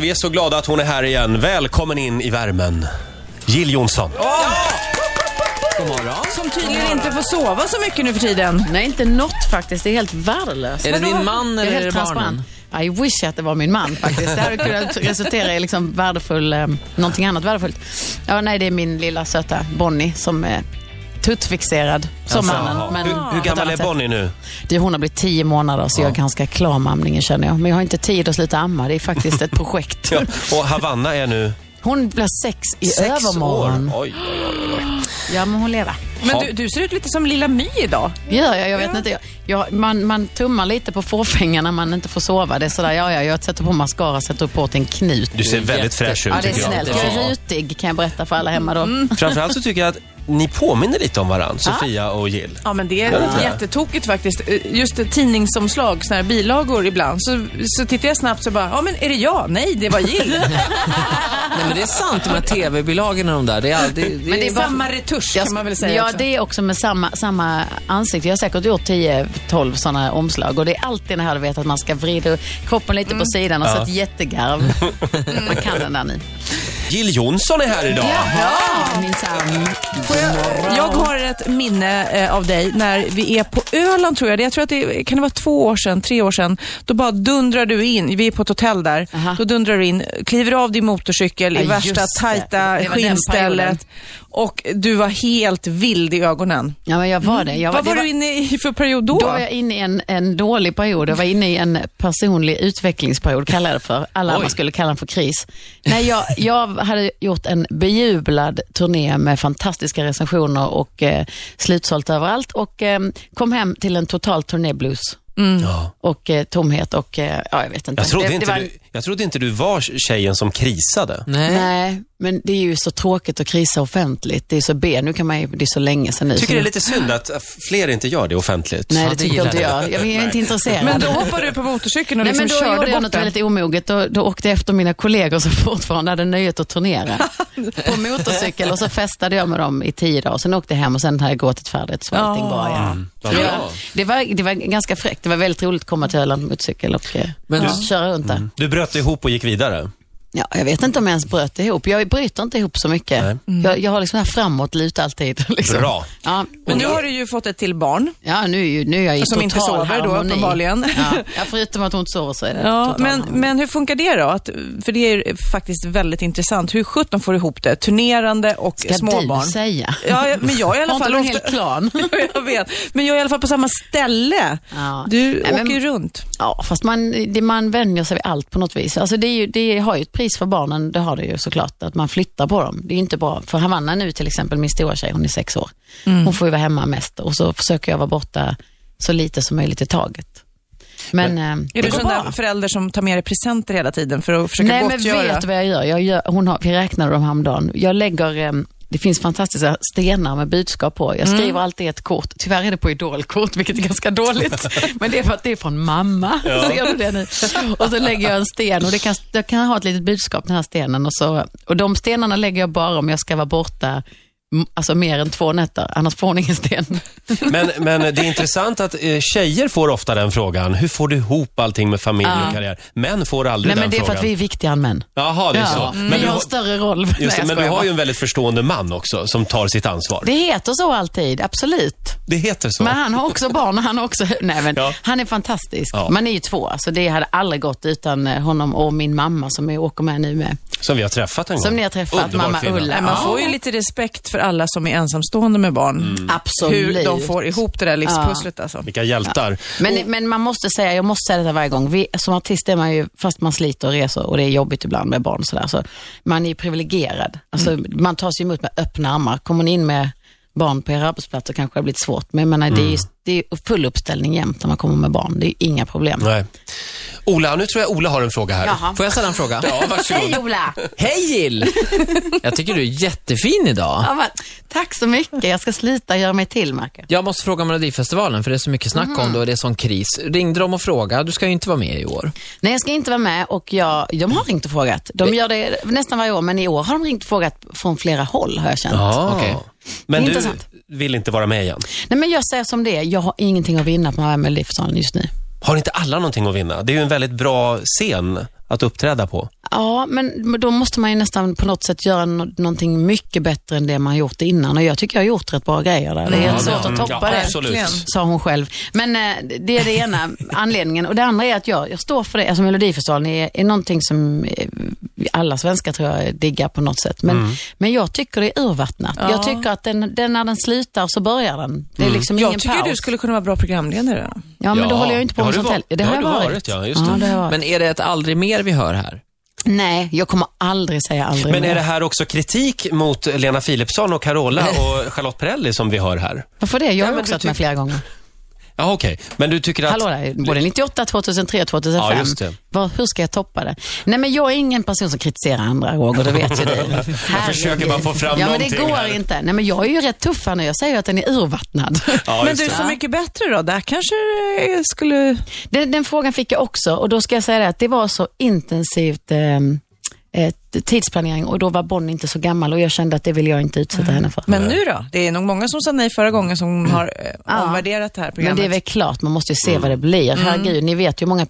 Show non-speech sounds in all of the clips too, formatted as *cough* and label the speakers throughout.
Speaker 1: vi är så glada att hon är här igen. Välkommen in i värmen. Jill Johnson.
Speaker 2: Som tydligen inte får sova så mycket nu för tiden.
Speaker 3: Nej, inte något faktiskt. Det är helt värdelöst.
Speaker 4: Är det din man
Speaker 3: Jag
Speaker 4: eller
Speaker 3: helt
Speaker 4: är det barnen?
Speaker 3: transparent. I wish att det var min man faktiskt. Det
Speaker 1: *laughs*
Speaker 3: hade kunnat resultera i liksom värdefull, eh, någonting annat värdefullt. Ja, nej, det är min lilla söta Bonnie som är tuttfixerad som mannen. Men
Speaker 1: Alltså, Hur, hur
Speaker 3: på ett
Speaker 1: gammal är
Speaker 3: annat sätt.
Speaker 1: Bonnie nu?
Speaker 3: Du, hon har blivit tio månader så jag är ganska klar med amningen känner jag. Men jag har inte tid att sluta amma. Det är
Speaker 1: *laughs*
Speaker 3: faktiskt ett projekt.
Speaker 1: Ja. Och Havanna är nu
Speaker 3: Hon blir sex i
Speaker 1: sex
Speaker 3: övermorgon.
Speaker 1: år. Oj, oj, oj.
Speaker 3: Ja, men hon lever.
Speaker 2: Men
Speaker 1: Ja.
Speaker 2: du, du ser ut lite som Lilla My idag.
Speaker 3: Gör jag? Jag vet inte. Jag, jag, man, man tummar lite på fåfängan när man inte får sova. Det är sådär, ja, ja, jag sätter på mascara, sätter upp åt en knut.
Speaker 1: Du ser
Speaker 4: Det är
Speaker 1: väldigt
Speaker 4: jätte-
Speaker 1: fräsch ut
Speaker 3: Ja, det är
Speaker 1: tycker jag.
Speaker 3: snällt. Jag är rutig, kan jag berätta för alla hemma då.
Speaker 2: Mm,
Speaker 1: Framförallt så tycker jag att ni påminner lite om varandra, Sofia och Jill.
Speaker 2: Ja, men det är jättetokigt faktiskt. Eh, Just eh, tidningsomslag, såna här bilagor ibland. Så, så tittar jag snabbt så bara, ja men är det jag? Nej, det var *laughs* Jill.
Speaker 4: Nej, men det är sant, de här tv-bilagorna de där. Det är aldrig, det
Speaker 3: Men det är
Speaker 4: är...
Speaker 3: bara-
Speaker 2: Samma retusch
Speaker 3: Jag
Speaker 2: kan
Speaker 3: sk-
Speaker 2: man väl säga
Speaker 3: Ja,
Speaker 2: också.
Speaker 3: det är också med samma, samma ansikte. Jag har säkert gjort 10-12 sådana omslag och det är alltid när du vet att man ska vrida kroppen lite
Speaker 2: Mm.
Speaker 3: på sidan och så
Speaker 1: *laughs*
Speaker 3: ett jättegarv. Man kan den där nu.
Speaker 1: Jill Johnson är här idag.
Speaker 3: Ja, minsann.
Speaker 2: Jag har ett minne eh, av dig när vi är på Öland tror jag. Det- Jag tror att det är- kan det vara två år sedan, tre år sedan. Då bara dundrar du in, vi är på ett hotell där.
Speaker 3: Aha.
Speaker 2: Då dundrar du in, kliver av din motorcykel i
Speaker 3: Ja, just
Speaker 2: värsta
Speaker 3: det.
Speaker 2: tajta
Speaker 3: Det var den perioden.
Speaker 2: skinnstället. Och du var helt vild i ögonen.
Speaker 3: Ja, men jag var det. Jag
Speaker 2: Vad
Speaker 3: det
Speaker 2: var du inne i för period då?
Speaker 3: Då var jag inne i en, en dålig period. Jag var inne i en personlig utvecklingsperiod, kallar jag det för. Alla andra skulle kalla den för kris. Nej, jag, jag hade gjort en bejublad turné med fantastiska recensioner och eh, slutsålt överallt och eh, kom hem till en total turnéblues
Speaker 1: Ja.
Speaker 3: och eh, tomhet och eh, ja, jag vet inte.
Speaker 1: Jag, trodde
Speaker 3: det,
Speaker 1: inte
Speaker 3: det var,
Speaker 1: du, jag trodde inte du var tjejen som krisade.
Speaker 4: Nej.
Speaker 3: Nej, men det är ju så tråkigt att krisa offentligt. Det är så B, nu kan man ju, det är så länge sedan nu.
Speaker 1: Tycker
Speaker 3: så
Speaker 1: det är
Speaker 3: nu-
Speaker 1: lite synd att fler inte gör det offentligt.
Speaker 3: Nej,
Speaker 4: Ja,
Speaker 3: det
Speaker 4: det
Speaker 3: tycker
Speaker 4: gillar
Speaker 3: jag inte jag. Jag är inte intresserad.
Speaker 2: Men då hoppade du på motorcykeln och
Speaker 3: Nej,
Speaker 2: liksom
Speaker 3: men då
Speaker 2: körde
Speaker 3: gjorde jag
Speaker 2: bort
Speaker 3: något
Speaker 2: den.
Speaker 3: väldigt omoget. Då, då åkte jag efter mina kollegor som *laughs* fortfarande hade nöjet att turnera
Speaker 2: *laughs*
Speaker 3: på motorcykel och så festade jag med dem i tio dagar. Sen åkte jag hem och sen hade jag gråtit färdigt så allting var ja.
Speaker 1: Mm, Vad bra.
Speaker 3: Ja, Det, var, det var ganska fräckt. Det var väldigt roligt att komma till Öland på motorcykel och eh,
Speaker 4: Men
Speaker 3: ja,
Speaker 4: du-
Speaker 3: köra runt där.
Speaker 1: Du bröt ihop och gick vidare.
Speaker 3: Ja, jag vet inte om jag ens bröt ihop. Jag bryter inte ihop så mycket. Jag, jag har liksom här framåt lut alltid. *laughs* Liksom.
Speaker 1: Bra.
Speaker 3: Ja,
Speaker 2: Men nu har du ju fått ett till barn.
Speaker 3: ja, nu, är ju- nu är jag
Speaker 2: Som
Speaker 3: i total
Speaker 2: inte sover då,
Speaker 3: harmoni.
Speaker 2: uppenbarligen.
Speaker 3: Ja, ja, förutom att hon inte sover så är det
Speaker 2: Ja,
Speaker 3: total
Speaker 2: men,
Speaker 3: harmoni.
Speaker 2: men hur funkar det då? Att, för det är ju faktiskt väldigt intressant. Hur sjutton får du ihop det? Turnerande och
Speaker 3: Ska
Speaker 2: småbarn.
Speaker 3: du säga?
Speaker 2: Ja, jag- men jag är i alla
Speaker 3: Har inte
Speaker 2: fall...
Speaker 3: du en hel
Speaker 2: *laughs*
Speaker 3: klan?
Speaker 2: jag vet. Men jag är i alla fall på samma ställe.
Speaker 3: Ja.
Speaker 2: Du
Speaker 3: Nej, men-
Speaker 2: åker ju runt.
Speaker 3: *laughs* Ja, fast man, det, man vänjer sig vid allt på något vis. Alltså det, är ju, det har ju ett pris för barnen, det har det ju såklart, att man flyttar på dem. Det är ju inte bra. För Havanna nu till exempel, min stora tjej, hon är sex år.
Speaker 2: Mm.
Speaker 3: Hon får ju vara hemma mest och så försöker jag vara borta så lite som möjligt i taget. Men, eh,
Speaker 2: Är
Speaker 3: det
Speaker 2: du
Speaker 3: går
Speaker 2: sån
Speaker 3: bra.
Speaker 2: där förälder som tar med dig presenter hela tiden för att försöka
Speaker 3: Nej, men
Speaker 2: gottgöra?
Speaker 3: vet du vad jag gör? Jag gör hon har, vi räknade dem häromdagen. Jag lägger, eh, det finns fantastiska stenar med budskap på. Jag
Speaker 1: Mm.
Speaker 3: skriver alltid ett kort. Tyvärr är det på idolkort, vilket är ganska dåligt.
Speaker 1: *laughs*
Speaker 3: Men det är för att det är från mamma. Ser du det nu? Och så lägger jag en sten och det kan, jag kan ha ett litet budskap, den här stenen. Och, så, och de stenarna lägger jag bara om jag ska vara borta m- Alltså mer än två nätter, annars får hon ingen sten.
Speaker 1: Men, men det är intressant att eh, tjejer får ofta den frågan. Hur får du ihop allting med familj och karriär? Män får aldrig
Speaker 3: Nej men
Speaker 1: den
Speaker 3: det är för
Speaker 1: frågan.
Speaker 3: att vi är viktigare än män.
Speaker 1: Jaha, det är så.
Speaker 3: Ja,
Speaker 1: Men,
Speaker 3: vi
Speaker 1: du,
Speaker 3: har en
Speaker 1: har,
Speaker 3: större roll. Nej,
Speaker 1: just det,
Speaker 3: jag
Speaker 1: men du
Speaker 3: skojar
Speaker 1: har ju
Speaker 3: bara.
Speaker 1: en väldigt förstående man också som tar sitt ansvar. Det,
Speaker 3: Det heter så alltid, absolut.
Speaker 1: heter så.
Speaker 3: Men han har också barn och han har också... Nej, men
Speaker 1: Ja.
Speaker 3: han är fantastisk.
Speaker 1: Ja.
Speaker 3: Man är ju två, så det hade aldrig gått utan eh, honom och min mamma som jag åker med nu med.
Speaker 1: Som vi har träffat en gång.
Speaker 3: Som ni har träffat,
Speaker 1: Underbar
Speaker 3: mamma
Speaker 1: kvinna.
Speaker 3: Ulla.
Speaker 2: Nej, man
Speaker 3: Ja.
Speaker 2: får ju lite respekt för alla som är ensamstående med barn.
Speaker 1: Mm.
Speaker 3: Absolut.
Speaker 2: Hur de får ihop det där livspusslet alltså.
Speaker 1: Vilka hjältar.
Speaker 3: Men, men man måste säga, jag måste säga detta varje gång. Vi, som artist är man ju, fast man sliter och reser och det är jobbigt ibland med barn och sådär, så man är ju privilegierad. Alltså,
Speaker 1: Mm.
Speaker 3: Man tas ju emot med öppna armar. Kommer ni in med barn på er arbetsplats så kanske det har blivit svårt. Men jag menar, det, är,
Speaker 1: Mm.
Speaker 3: ju- det är full uppställning jämt när man kommer med barn. Det är inga problem.
Speaker 1: Nej. Ola, nu tror jag Ola har en fråga här.
Speaker 3: Jaha.
Speaker 4: Får jag ställa en fråga?
Speaker 1: Ja, varsågod.
Speaker 3: Hej Ola!
Speaker 4: Hej Jill! Jag tycker du är jättefin idag.
Speaker 3: Ja, men, tack så mycket. Jag ska slita göra mig till, Marcus.
Speaker 4: Jag måste fråga om Melodifestivalen, för det är så mycket snack
Speaker 3: Mhm.
Speaker 4: om det och det är sån kris. Ringde de och frågade? Du ska ju inte vara med i år.
Speaker 3: Nej, jag ska inte vara med och jag, de har ringt och frågat. De gör det nästan varje år, men i år har de ringt och frågat från flera håll, har jag känt.
Speaker 1: Ja.
Speaker 4: Okej.
Speaker 1: Men
Speaker 3: Det är
Speaker 1: du
Speaker 3: intressant.
Speaker 1: vill inte vara med igen.
Speaker 3: Nej, men jag säger som det är. Jag har ingenting att vinna på att vara med i Melodifestivalen just nu.
Speaker 1: Har inte alla någonting att vinna? Det är ju en väldigt bra scen att uppträda på.
Speaker 3: Ja, men då måste man ju nästan på något sätt göra nå- någonting mycket bättre än det man gjort innan och jag tycker jag har gjort rätt bra grejer där. Det är
Speaker 2: Ja,
Speaker 3: helt svårt
Speaker 1: det-
Speaker 3: att toppa
Speaker 1: Mm. ja,
Speaker 3: det.
Speaker 1: absolut.
Speaker 2: verkligen.
Speaker 3: sa hon själv. Men eh, det är det
Speaker 1: *laughs*
Speaker 3: ena anledningen. Och det andra är att jag, jag står för det. Alltså Melodifestivalen är, är någonting som eh, alla svenskar tror jag diggar på något sätt. Men,
Speaker 1: Mm.
Speaker 3: men jag tycker det är urvattnat.
Speaker 2: Ja.
Speaker 3: Jag tycker att den, den, när den slutar så börjar den. Det är
Speaker 1: Mm.
Speaker 3: liksom
Speaker 2: Jag
Speaker 3: ingen
Speaker 2: tycker
Speaker 3: paus.
Speaker 2: du skulle kunna vara bra programledare.
Speaker 3: Ja, men då
Speaker 1: Ja,
Speaker 3: håller jag ju inte på
Speaker 1: det
Speaker 3: med
Speaker 1: har du
Speaker 3: sånt
Speaker 1: va-
Speaker 3: heller.
Speaker 1: det har du varit, ja, just det.
Speaker 3: det har jag varit.
Speaker 4: Men är det ett aldrig mer vi hör här?
Speaker 3: Nej, jag kommer aldrig säga aldrig
Speaker 1: Men är
Speaker 3: mer.
Speaker 1: det här också kritik mot Lena Philipsson och Carola och Charlotte Perrelli som vi hör här?
Speaker 3: Varför det? Jag har
Speaker 1: men
Speaker 3: också
Speaker 1: du
Speaker 3: varit med
Speaker 1: tyck-
Speaker 3: flera gånger.
Speaker 1: Ja, okej. Men du tycker att...
Speaker 3: Hallå där, både 98, 2003 och 2005.
Speaker 1: Ja, just det.
Speaker 3: Vad- hur ska jag toppa det? Nej, men jag är ingen person som kritiserar andra, Roger, det vet
Speaker 1: *laughs*
Speaker 3: ju du. Jag
Speaker 1: försöker bara få fram
Speaker 3: Ja, men det
Speaker 1: någonting
Speaker 3: går
Speaker 1: här.
Speaker 3: inte. Nej, men jag är ju rätt tuff här nu. Jag säger ju att den är urvattnad.
Speaker 1: Ja,
Speaker 2: men
Speaker 1: just
Speaker 2: du,
Speaker 1: det.
Speaker 2: Så Mycket Bättre då? Där kanske eh, skulle...
Speaker 3: *laughs* Den, den frågan fick jag också och då ska jag säga det att det var så intensivt eh, eh, tidsplanering och då var Bonnie inte så gammal och jag kände att det vill jag inte
Speaker 1: Mm.
Speaker 3: utsätta henne för.
Speaker 2: Men nu då? Det är nog många som sa nej förra gången som har eh,
Speaker 3: *clears throat* Ja.
Speaker 2: omvärderat det här
Speaker 3: Men
Speaker 2: programmet.
Speaker 3: det är väl klart, man måste ju
Speaker 4: Mm.
Speaker 3: se vad det blir. Herregud, ni vet ju hur många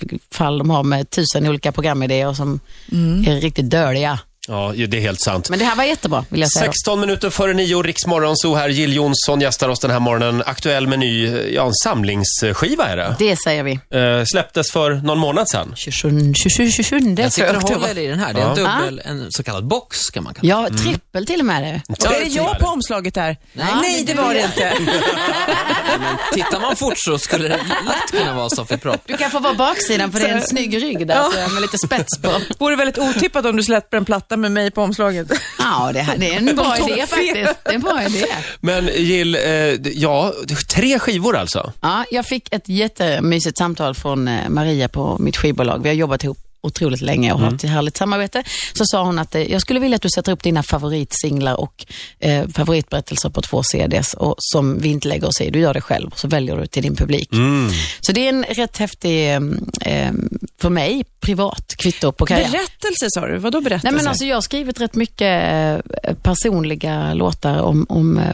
Speaker 3: pilotfall de har med tusen olika programidéer som
Speaker 4: Mm.
Speaker 3: är riktigt döliga.
Speaker 1: Ja, ju- det är helt sant.
Speaker 3: Men det här var jättebra, vill jag säga. då.
Speaker 1: 16 minuter före nio, Riksmorgon, så här. Jill Johnson gästar oss den här morgonen. Aktuell med ny, ja, en samlingsskiva är det.
Speaker 3: Det säger vi.
Speaker 1: Eh, släpptes för någon månad sedan.
Speaker 3: 27, 27, 27
Speaker 4: Jag
Speaker 3: tror
Speaker 4: sitter
Speaker 3: jag
Speaker 4: och
Speaker 3: att det var.
Speaker 4: håller Mm. i den här. Det är en
Speaker 1: Ja.
Speaker 4: dubbel, en så kallad box kan man kalla det.
Speaker 3: Ja, trippel till och med. det.
Speaker 2: Och är det jag på omslaget där? Nej, det var det inte. *laughs*
Speaker 4: Tittar man fort så skulle det lätt kunna vara
Speaker 1: *laughs*
Speaker 4: Sofie Propp.
Speaker 3: Du kan få vara baksidan för det är en snygg rygg där tror jag, med lite spets på.
Speaker 2: Vore väldigt otippat om du släpper en platta med mig på omslaget.
Speaker 3: Ja, det, här, det är en bra idé faktiskt. Det är en bra idé.
Speaker 1: Men Jill, eh, d- ja, tre skivor alltså.
Speaker 3: Ja, jag fick ett jättemysigt samtal från eh, Maria på mitt skivbolag. Vi har jobbat ihop otroligt länge och haft ett härligt samarbete. Så sa hon att eh, jag skulle vilja att du sätter upp dina favoritsinglar och eh, favoritberättelser på två CDs och, som vi inte lägger oss i. Du gör det själv och så väljer du till din publik.
Speaker 1: Mm.
Speaker 3: Så det är en rätt häftig, eh, eh, för mig, privat kvitto på karriären.
Speaker 2: Berättelse sa du? Vadå berättelse?
Speaker 3: Nej, men alltså, jag har skrivit rätt mycket eh, personliga låtar om, om eh,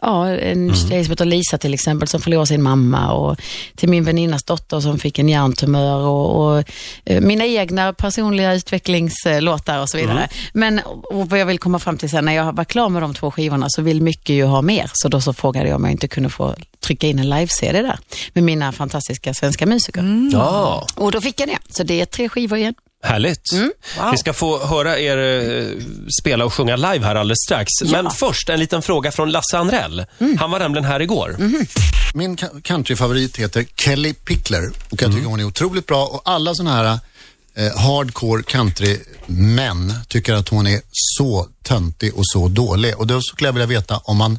Speaker 3: ja, en tjej som heter Lisa till exempel som förlorade sin mamma och till min väninnas dotter som fick en hjärntumör och, och eh, mina egna personliga utvecklingslåtar och så vidare. Men och vad jag vill komma fram till sen när jag var klar med de två skivorna så vill mycket ju ha mer. Så då så frågade jag om jag inte kunde få trycka in en live-CD där med mina fantastiska svenska musiker.
Speaker 1: Mm. Ja,
Speaker 3: Och då fick jag det. Så det är tre skivor igen.
Speaker 1: härligt.
Speaker 3: Mm,
Speaker 1: Vi ska få höra er eh, spela och sjunga live här alldeles strax. Men först en liten fråga från Lasse Andrell.
Speaker 3: Mm.
Speaker 1: Han var nämligen här igår. *laughs*
Speaker 5: Min ka- countryfavorit heter Kelly Pickler och jag tycker hon är otroligt bra och alla sådana här eh, hardcore countrymän tycker att hon är så töntig och så dålig och då skulle jag vilja veta om man,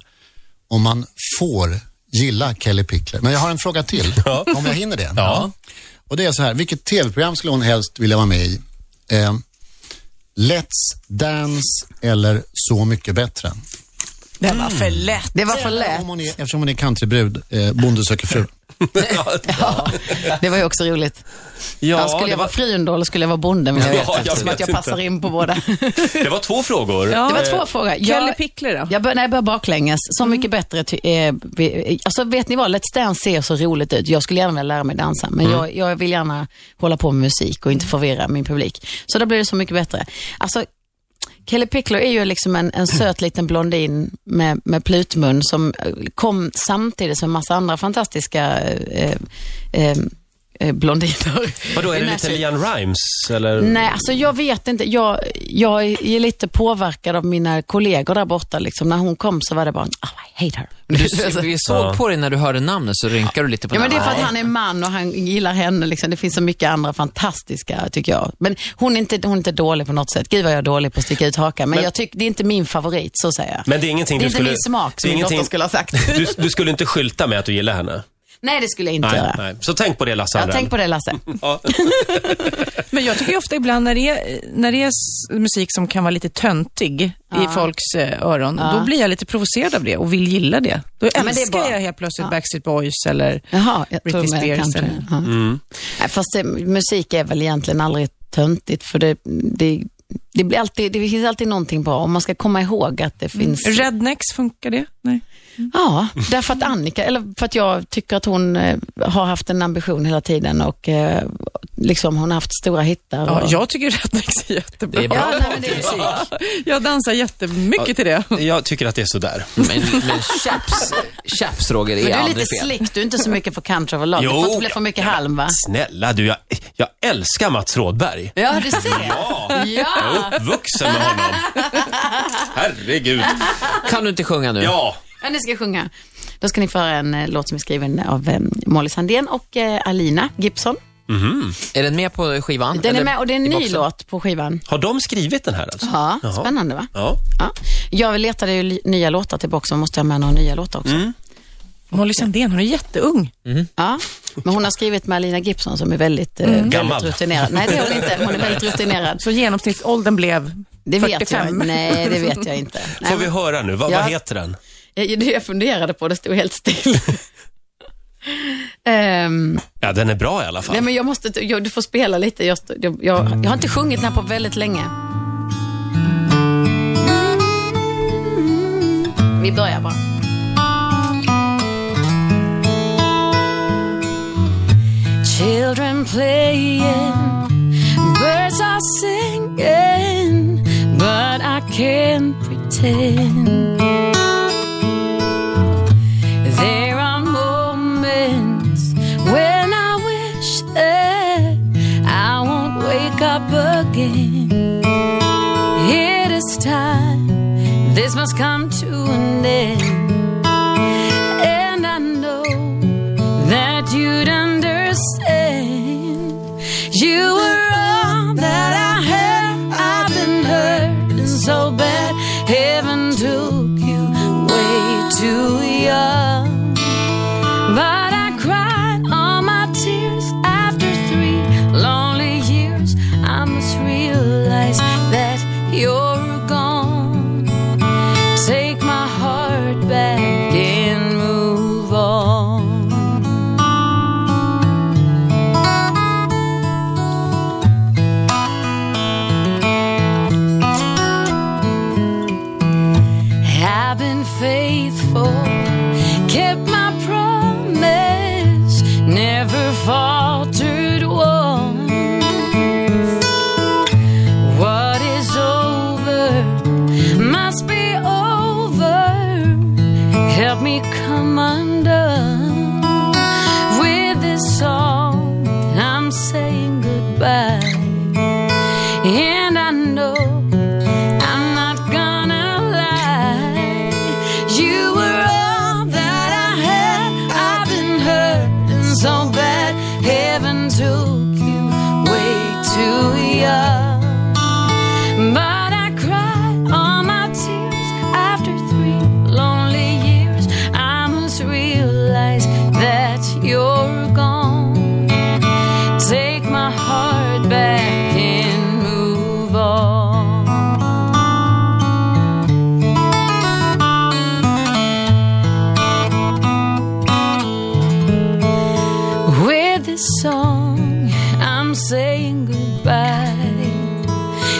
Speaker 5: om man får gilla Kelly Pickler. Men jag har en fråga till, om jag hinner det.
Speaker 1: Ja.
Speaker 5: Och det är så här, vilket tv-program skulle hon helst vilja vara med i? Eh, Let's Dance eller Så mycket bättre?
Speaker 2: Den var för Mm. lätt.
Speaker 3: Det var för lätt.
Speaker 5: Om hon är, eftersom hon är countrybrud, eh, Bonde söker fru.
Speaker 3: Det var ju också roligt. *laughs* Ja, skulle
Speaker 1: det
Speaker 3: jag
Speaker 1: var,
Speaker 3: vara friunderhåll skulle jag vara bonde vill jag
Speaker 1: Ja,
Speaker 3: veta.
Speaker 1: jag
Speaker 3: så
Speaker 1: vet
Speaker 3: att jag
Speaker 1: inte.
Speaker 3: passar in på båda.
Speaker 1: det var två frågor.
Speaker 3: Det var två frågor.
Speaker 2: Kelly
Speaker 3: Jag,
Speaker 2: Pickler då?
Speaker 3: jag, bör, nej, jag börjar baklänges. Så mycket bättre. Ty, eh, vi, eh, alltså, vet ni vad? Let's Dance ser så roligt ut. Jag skulle gärna vilja lära mig dansa, men
Speaker 1: Mm.
Speaker 3: jag, jag vill gärna hålla på med musik och inte förvirra min publik. Så då blir det så mycket bättre. Alltså, Kelly Pickler är ju liksom en, en söt liten blondin med, med plutmun som eh, kom samtidigt som en massa andra fantastiska eh, eh, eh, blondiner.
Speaker 1: Vadå, är det
Speaker 3: I
Speaker 1: lite
Speaker 3: Nashville.
Speaker 1: Lian Rimes? Eller?
Speaker 3: Nej, alltså jag vet inte. Jag, jag är lite påverkad av mina kollegor där borta. Liksom. När hon kom så var det bara, oh, I hate her.
Speaker 4: Du, vi såg på dig när du hörde namnet så rynkar du lite på
Speaker 3: Ja, men det är för att
Speaker 4: näven.
Speaker 3: han är man och han gillar henne. Liksom. Det finns så mycket andra fantastiska, tycker jag. Men hon är inte, hon är inte dålig på något sätt. Gud vad jag är dålig på att sticka ut hakan. Men, jag tycker det är inte min favorit, så säger jag.
Speaker 1: Men det är ingenting du
Speaker 3: det är inte
Speaker 1: skulle...
Speaker 3: min smak,
Speaker 1: det
Speaker 3: som
Speaker 1: är
Speaker 3: min dotter
Speaker 1: ingenting-
Speaker 3: skulle ha
Speaker 1: *laughs*
Speaker 3: sagt.
Speaker 1: Du, du skulle inte skylta med att du gillar henne?
Speaker 3: nej, det skulle jag inte
Speaker 1: Nej,
Speaker 3: göra.
Speaker 1: nej. Så tänk på det Lasse
Speaker 3: Jag
Speaker 1: Andrell.
Speaker 3: tänk på det, Lasse.
Speaker 1: Ja.
Speaker 2: Men jag tycker ju ofta ibland när det är, när det är s- musik som kan vara lite töntig i folks eh, öron, då blir jag lite provocerad av det och vill gilla det. Då
Speaker 3: men det är
Speaker 2: älskar
Speaker 3: bra.
Speaker 2: jag helt plötsligt Backstreet Boys eller
Speaker 3: Jaha, jag tror
Speaker 2: Britney
Speaker 3: med
Speaker 2: Spears
Speaker 3: country.
Speaker 2: eller-
Speaker 3: Ja.
Speaker 6: Mm.
Speaker 3: Nej, fast det, musik är väl egentligen aldrig töntigt för det, det, det, blir alltid, det finns alltid någonting bra om man ska komma ihåg att det finns.
Speaker 2: Rednecks, funkar det? Nej.
Speaker 3: Ja, därför att Annika, eller för att jag tycker att hon eh, har haft en ambition hela tiden och eh,
Speaker 6: liksom, hon har haft stora hittar.
Speaker 2: Ja,
Speaker 6: och-
Speaker 2: jag tycker Rättnäcks är jättebra.
Speaker 4: Det är bra.
Speaker 6: Ja, nej, men det är musik.
Speaker 2: Jag dansar jättemycket till det.
Speaker 1: *laughs* Jag tycker att det är sådär.
Speaker 4: Men, men chaps, chaps, Roger, är
Speaker 6: Men du är
Speaker 4: aldrig
Speaker 6: lite
Speaker 4: fel.
Speaker 6: slick, du är inte så mycket för country överlag. Det får inte bli för mycket halm va?
Speaker 1: Snälla du, jag, jag älskar Mats Rådberg.
Speaker 6: Ja, du ser.
Speaker 1: Ja. Jag
Speaker 6: Ja,
Speaker 1: är uppvuxen med
Speaker 3: *laughs*
Speaker 1: honom. Herregud.
Speaker 4: Kan du inte sjunga nu?
Speaker 1: Ja.
Speaker 6: ja ni ska sjunga. Då ska ni föra en eh, låt som är skriven av eh, Molly Sandén och eh, Alina Gibson.
Speaker 4: Är den med på skivan?
Speaker 6: Den är
Speaker 4: Eller
Speaker 6: med och det är en
Speaker 4: i
Speaker 6: ny
Speaker 4: boxen?
Speaker 6: låt på skivan.
Speaker 1: Har de skrivit den här alltså?
Speaker 6: Ja,
Speaker 1: Jaha.
Speaker 6: spännande va?
Speaker 1: Ja.
Speaker 6: Ja. Jag letade ju li- nya låtar till boxen, måste jag ha med några nya låtar också.
Speaker 1: Mm.
Speaker 2: Molly Sandén, hon är jätteung.
Speaker 6: Ja. Men hon har skrivit med Alina Gibson som är väldigt, eh, väldigt
Speaker 1: Mm. Gammal.
Speaker 6: rutinerad. Nej, det är hon inte. Hon är väldigt rutinerad.
Speaker 2: Så genomsnittsåldern blev
Speaker 6: Det vet
Speaker 2: 45.
Speaker 6: jag. Nej, det vet jag inte. Nej,
Speaker 1: Får vi höra nu? Vad,
Speaker 6: Ja.
Speaker 1: vad heter den?
Speaker 6: jag, det jag funderade på, det stod helt still.
Speaker 1: *laughs*
Speaker 6: Ehm,
Speaker 1: Ja, den är bra i alla fall.
Speaker 6: nej, men jag måste, jag, du får spela lite. Jag, jag, jag, jag har inte sjungit den här på väldigt länge. Vi börjar bara. Children playing, birds are singing, but I can't pretend. There are moments when I wish that I won't wake up again. It is time, this must come to an end. And I know that you'd understand. You were all that I had. I've been hurting so bad. Heaven took you way too young. But I cried all my tears after three lonely years. I must realize that you're gone. Take my heart back and move on. I've been faithful, kept my promise, never faltered once. What is over must be over. Help me come undone with this song. I'm saying goodbye, and I know. I'm not gonna lie. You were all that I had. I've been hurting so bad. Heaven took you way too young. But I cried all my tears after three lonely years. I must realize that you're gone. Take my heart back and move on. With this song, I'm saying goodbye.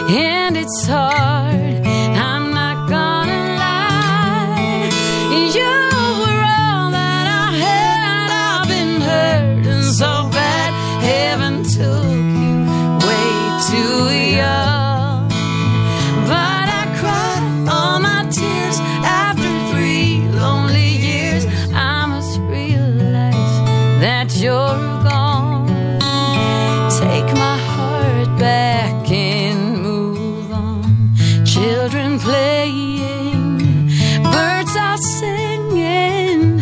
Speaker 6: And it's hard, I'm not gonna lie. You were all that I had. I've been hurting so bad. Heaven took you way too young. But I cried all my tears after three lonely years. I must realize that you're gone. Take my heart back and move on. Children playing, birds are singing,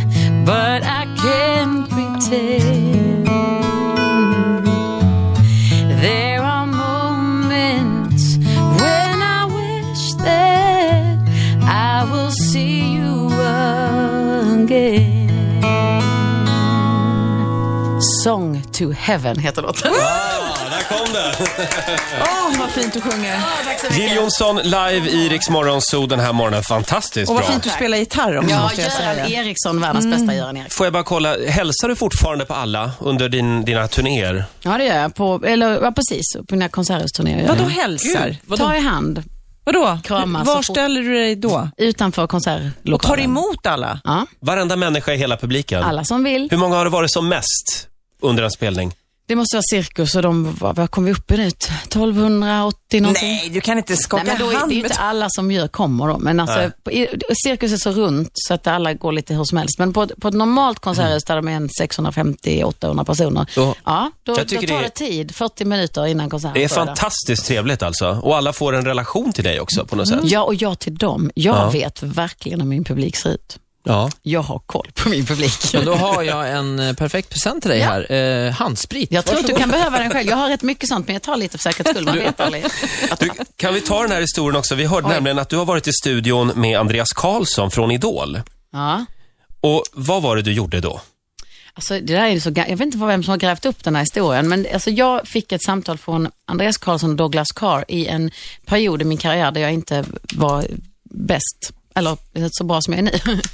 Speaker 6: but I can't pretend. There are moments when I wish that I will see you again. Song to heaven heter låten.
Speaker 1: Ah, där kom den!
Speaker 2: *laughs* Åh, vad fint du sjunger.
Speaker 1: Jill Johnson live i Rix Morgon Zoo den här morgonen. Fantastiskt
Speaker 2: Och vad
Speaker 1: bra.
Speaker 2: fint du spelar gitarr också,
Speaker 6: Ja,
Speaker 2: måste jag säga. Mm.
Speaker 6: Göran Eriksson, världens bästa Göran Eriksson.
Speaker 1: Får jag bara kolla, hälsar du fortfarande på alla under din, dina turnéer?
Speaker 6: Ja, det gör jag. På, eller, ja, precis. På mina konserthusturnéer. gör
Speaker 2: Vadå
Speaker 3: Mm.
Speaker 6: jag.
Speaker 2: hälsar?
Speaker 6: Ta i hand
Speaker 2: Vadå?
Speaker 6: Kramas
Speaker 2: Var
Speaker 6: och fot-
Speaker 2: ställer du dig då?
Speaker 6: utanför
Speaker 2: Och tar
Speaker 6: konsertlokalen.
Speaker 2: emot alla?
Speaker 6: Ja,
Speaker 1: Varenda människa i hela publiken?
Speaker 6: alla som vill.
Speaker 1: Hur många har det varit som mest under en spelning?
Speaker 3: Det måste vara cirkus och de, vad, vad kom vi upp i nu? 1280 någonting?
Speaker 2: Nej, du kan inte skaka
Speaker 3: Nej, men då är
Speaker 2: hand
Speaker 3: det är ju
Speaker 2: med
Speaker 3: inte alla som gör kommer då. Men alltså,
Speaker 1: Nej.
Speaker 3: på- i- cirkus är så runt så att alla går lite hur som helst. Men på, ett- på ett normalt konserthus där de är en 650-800 personer,
Speaker 1: Då-
Speaker 3: ja, då, då
Speaker 1: Jag
Speaker 3: tar
Speaker 1: tycker
Speaker 3: det,
Speaker 1: det är-
Speaker 3: tid, 40 minuter innan konserten
Speaker 1: Det är
Speaker 3: börjar.
Speaker 1: fantastiskt trevligt alltså. Och alla får en relation till dig också på något sätt.
Speaker 3: Ja, och jag till dem. Jag
Speaker 1: Ja.
Speaker 3: vet verkligen hur min publik ser ut.
Speaker 1: Ja.
Speaker 3: Jag har koll på
Speaker 1: *laughs*
Speaker 3: min publik.
Speaker 4: Men då har jag en eh, perfekt present till dig här. Eh, handsprit.
Speaker 3: Jag tror att du kan behöva den själv. Jag har rätt mycket sånt, men jag tar lite för säkerhets skull. Man
Speaker 1: *laughs*
Speaker 3: vet aldrig.
Speaker 1: Du, kan vi ta den här historien också? Vi hörde nämligen att du har varit i studion med Andreas Karlsson från Idol.
Speaker 3: Ja.
Speaker 1: Och vad var det du gjorde då?
Speaker 3: Alltså, det där är ju så, ga- jag vet inte vad- vem som har grävt upp den här historien, men alltså, jag fick ett samtal från Andreas Karlsson och Douglas Carr i en period i min karriär där jag inte var bäst, eller så bra som jag är nu. *laughs*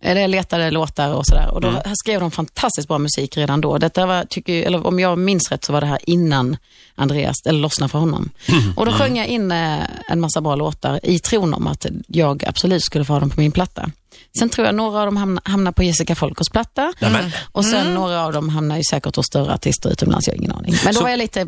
Speaker 3: Eller jag letade låtar och sådär. Och då skrev de fantastiskt bra musik redan då. Detta var, tycker, eller om jag minns rätt så var det här innan Andreas, eller Lossna för honom. Och då sjöng jag in eh, en massa bra låtar i tron om att jag absolut skulle få ha dem på min platta. Sen tror jag några av dem hamna- hamnar på Jessica Folkers platta. Mm.
Speaker 1: Nämen.
Speaker 3: Och sen några av dem hamnar ju säkert hos större artister utomlands, jag har ingen aning. Men då
Speaker 1: Så-
Speaker 3: var jag lite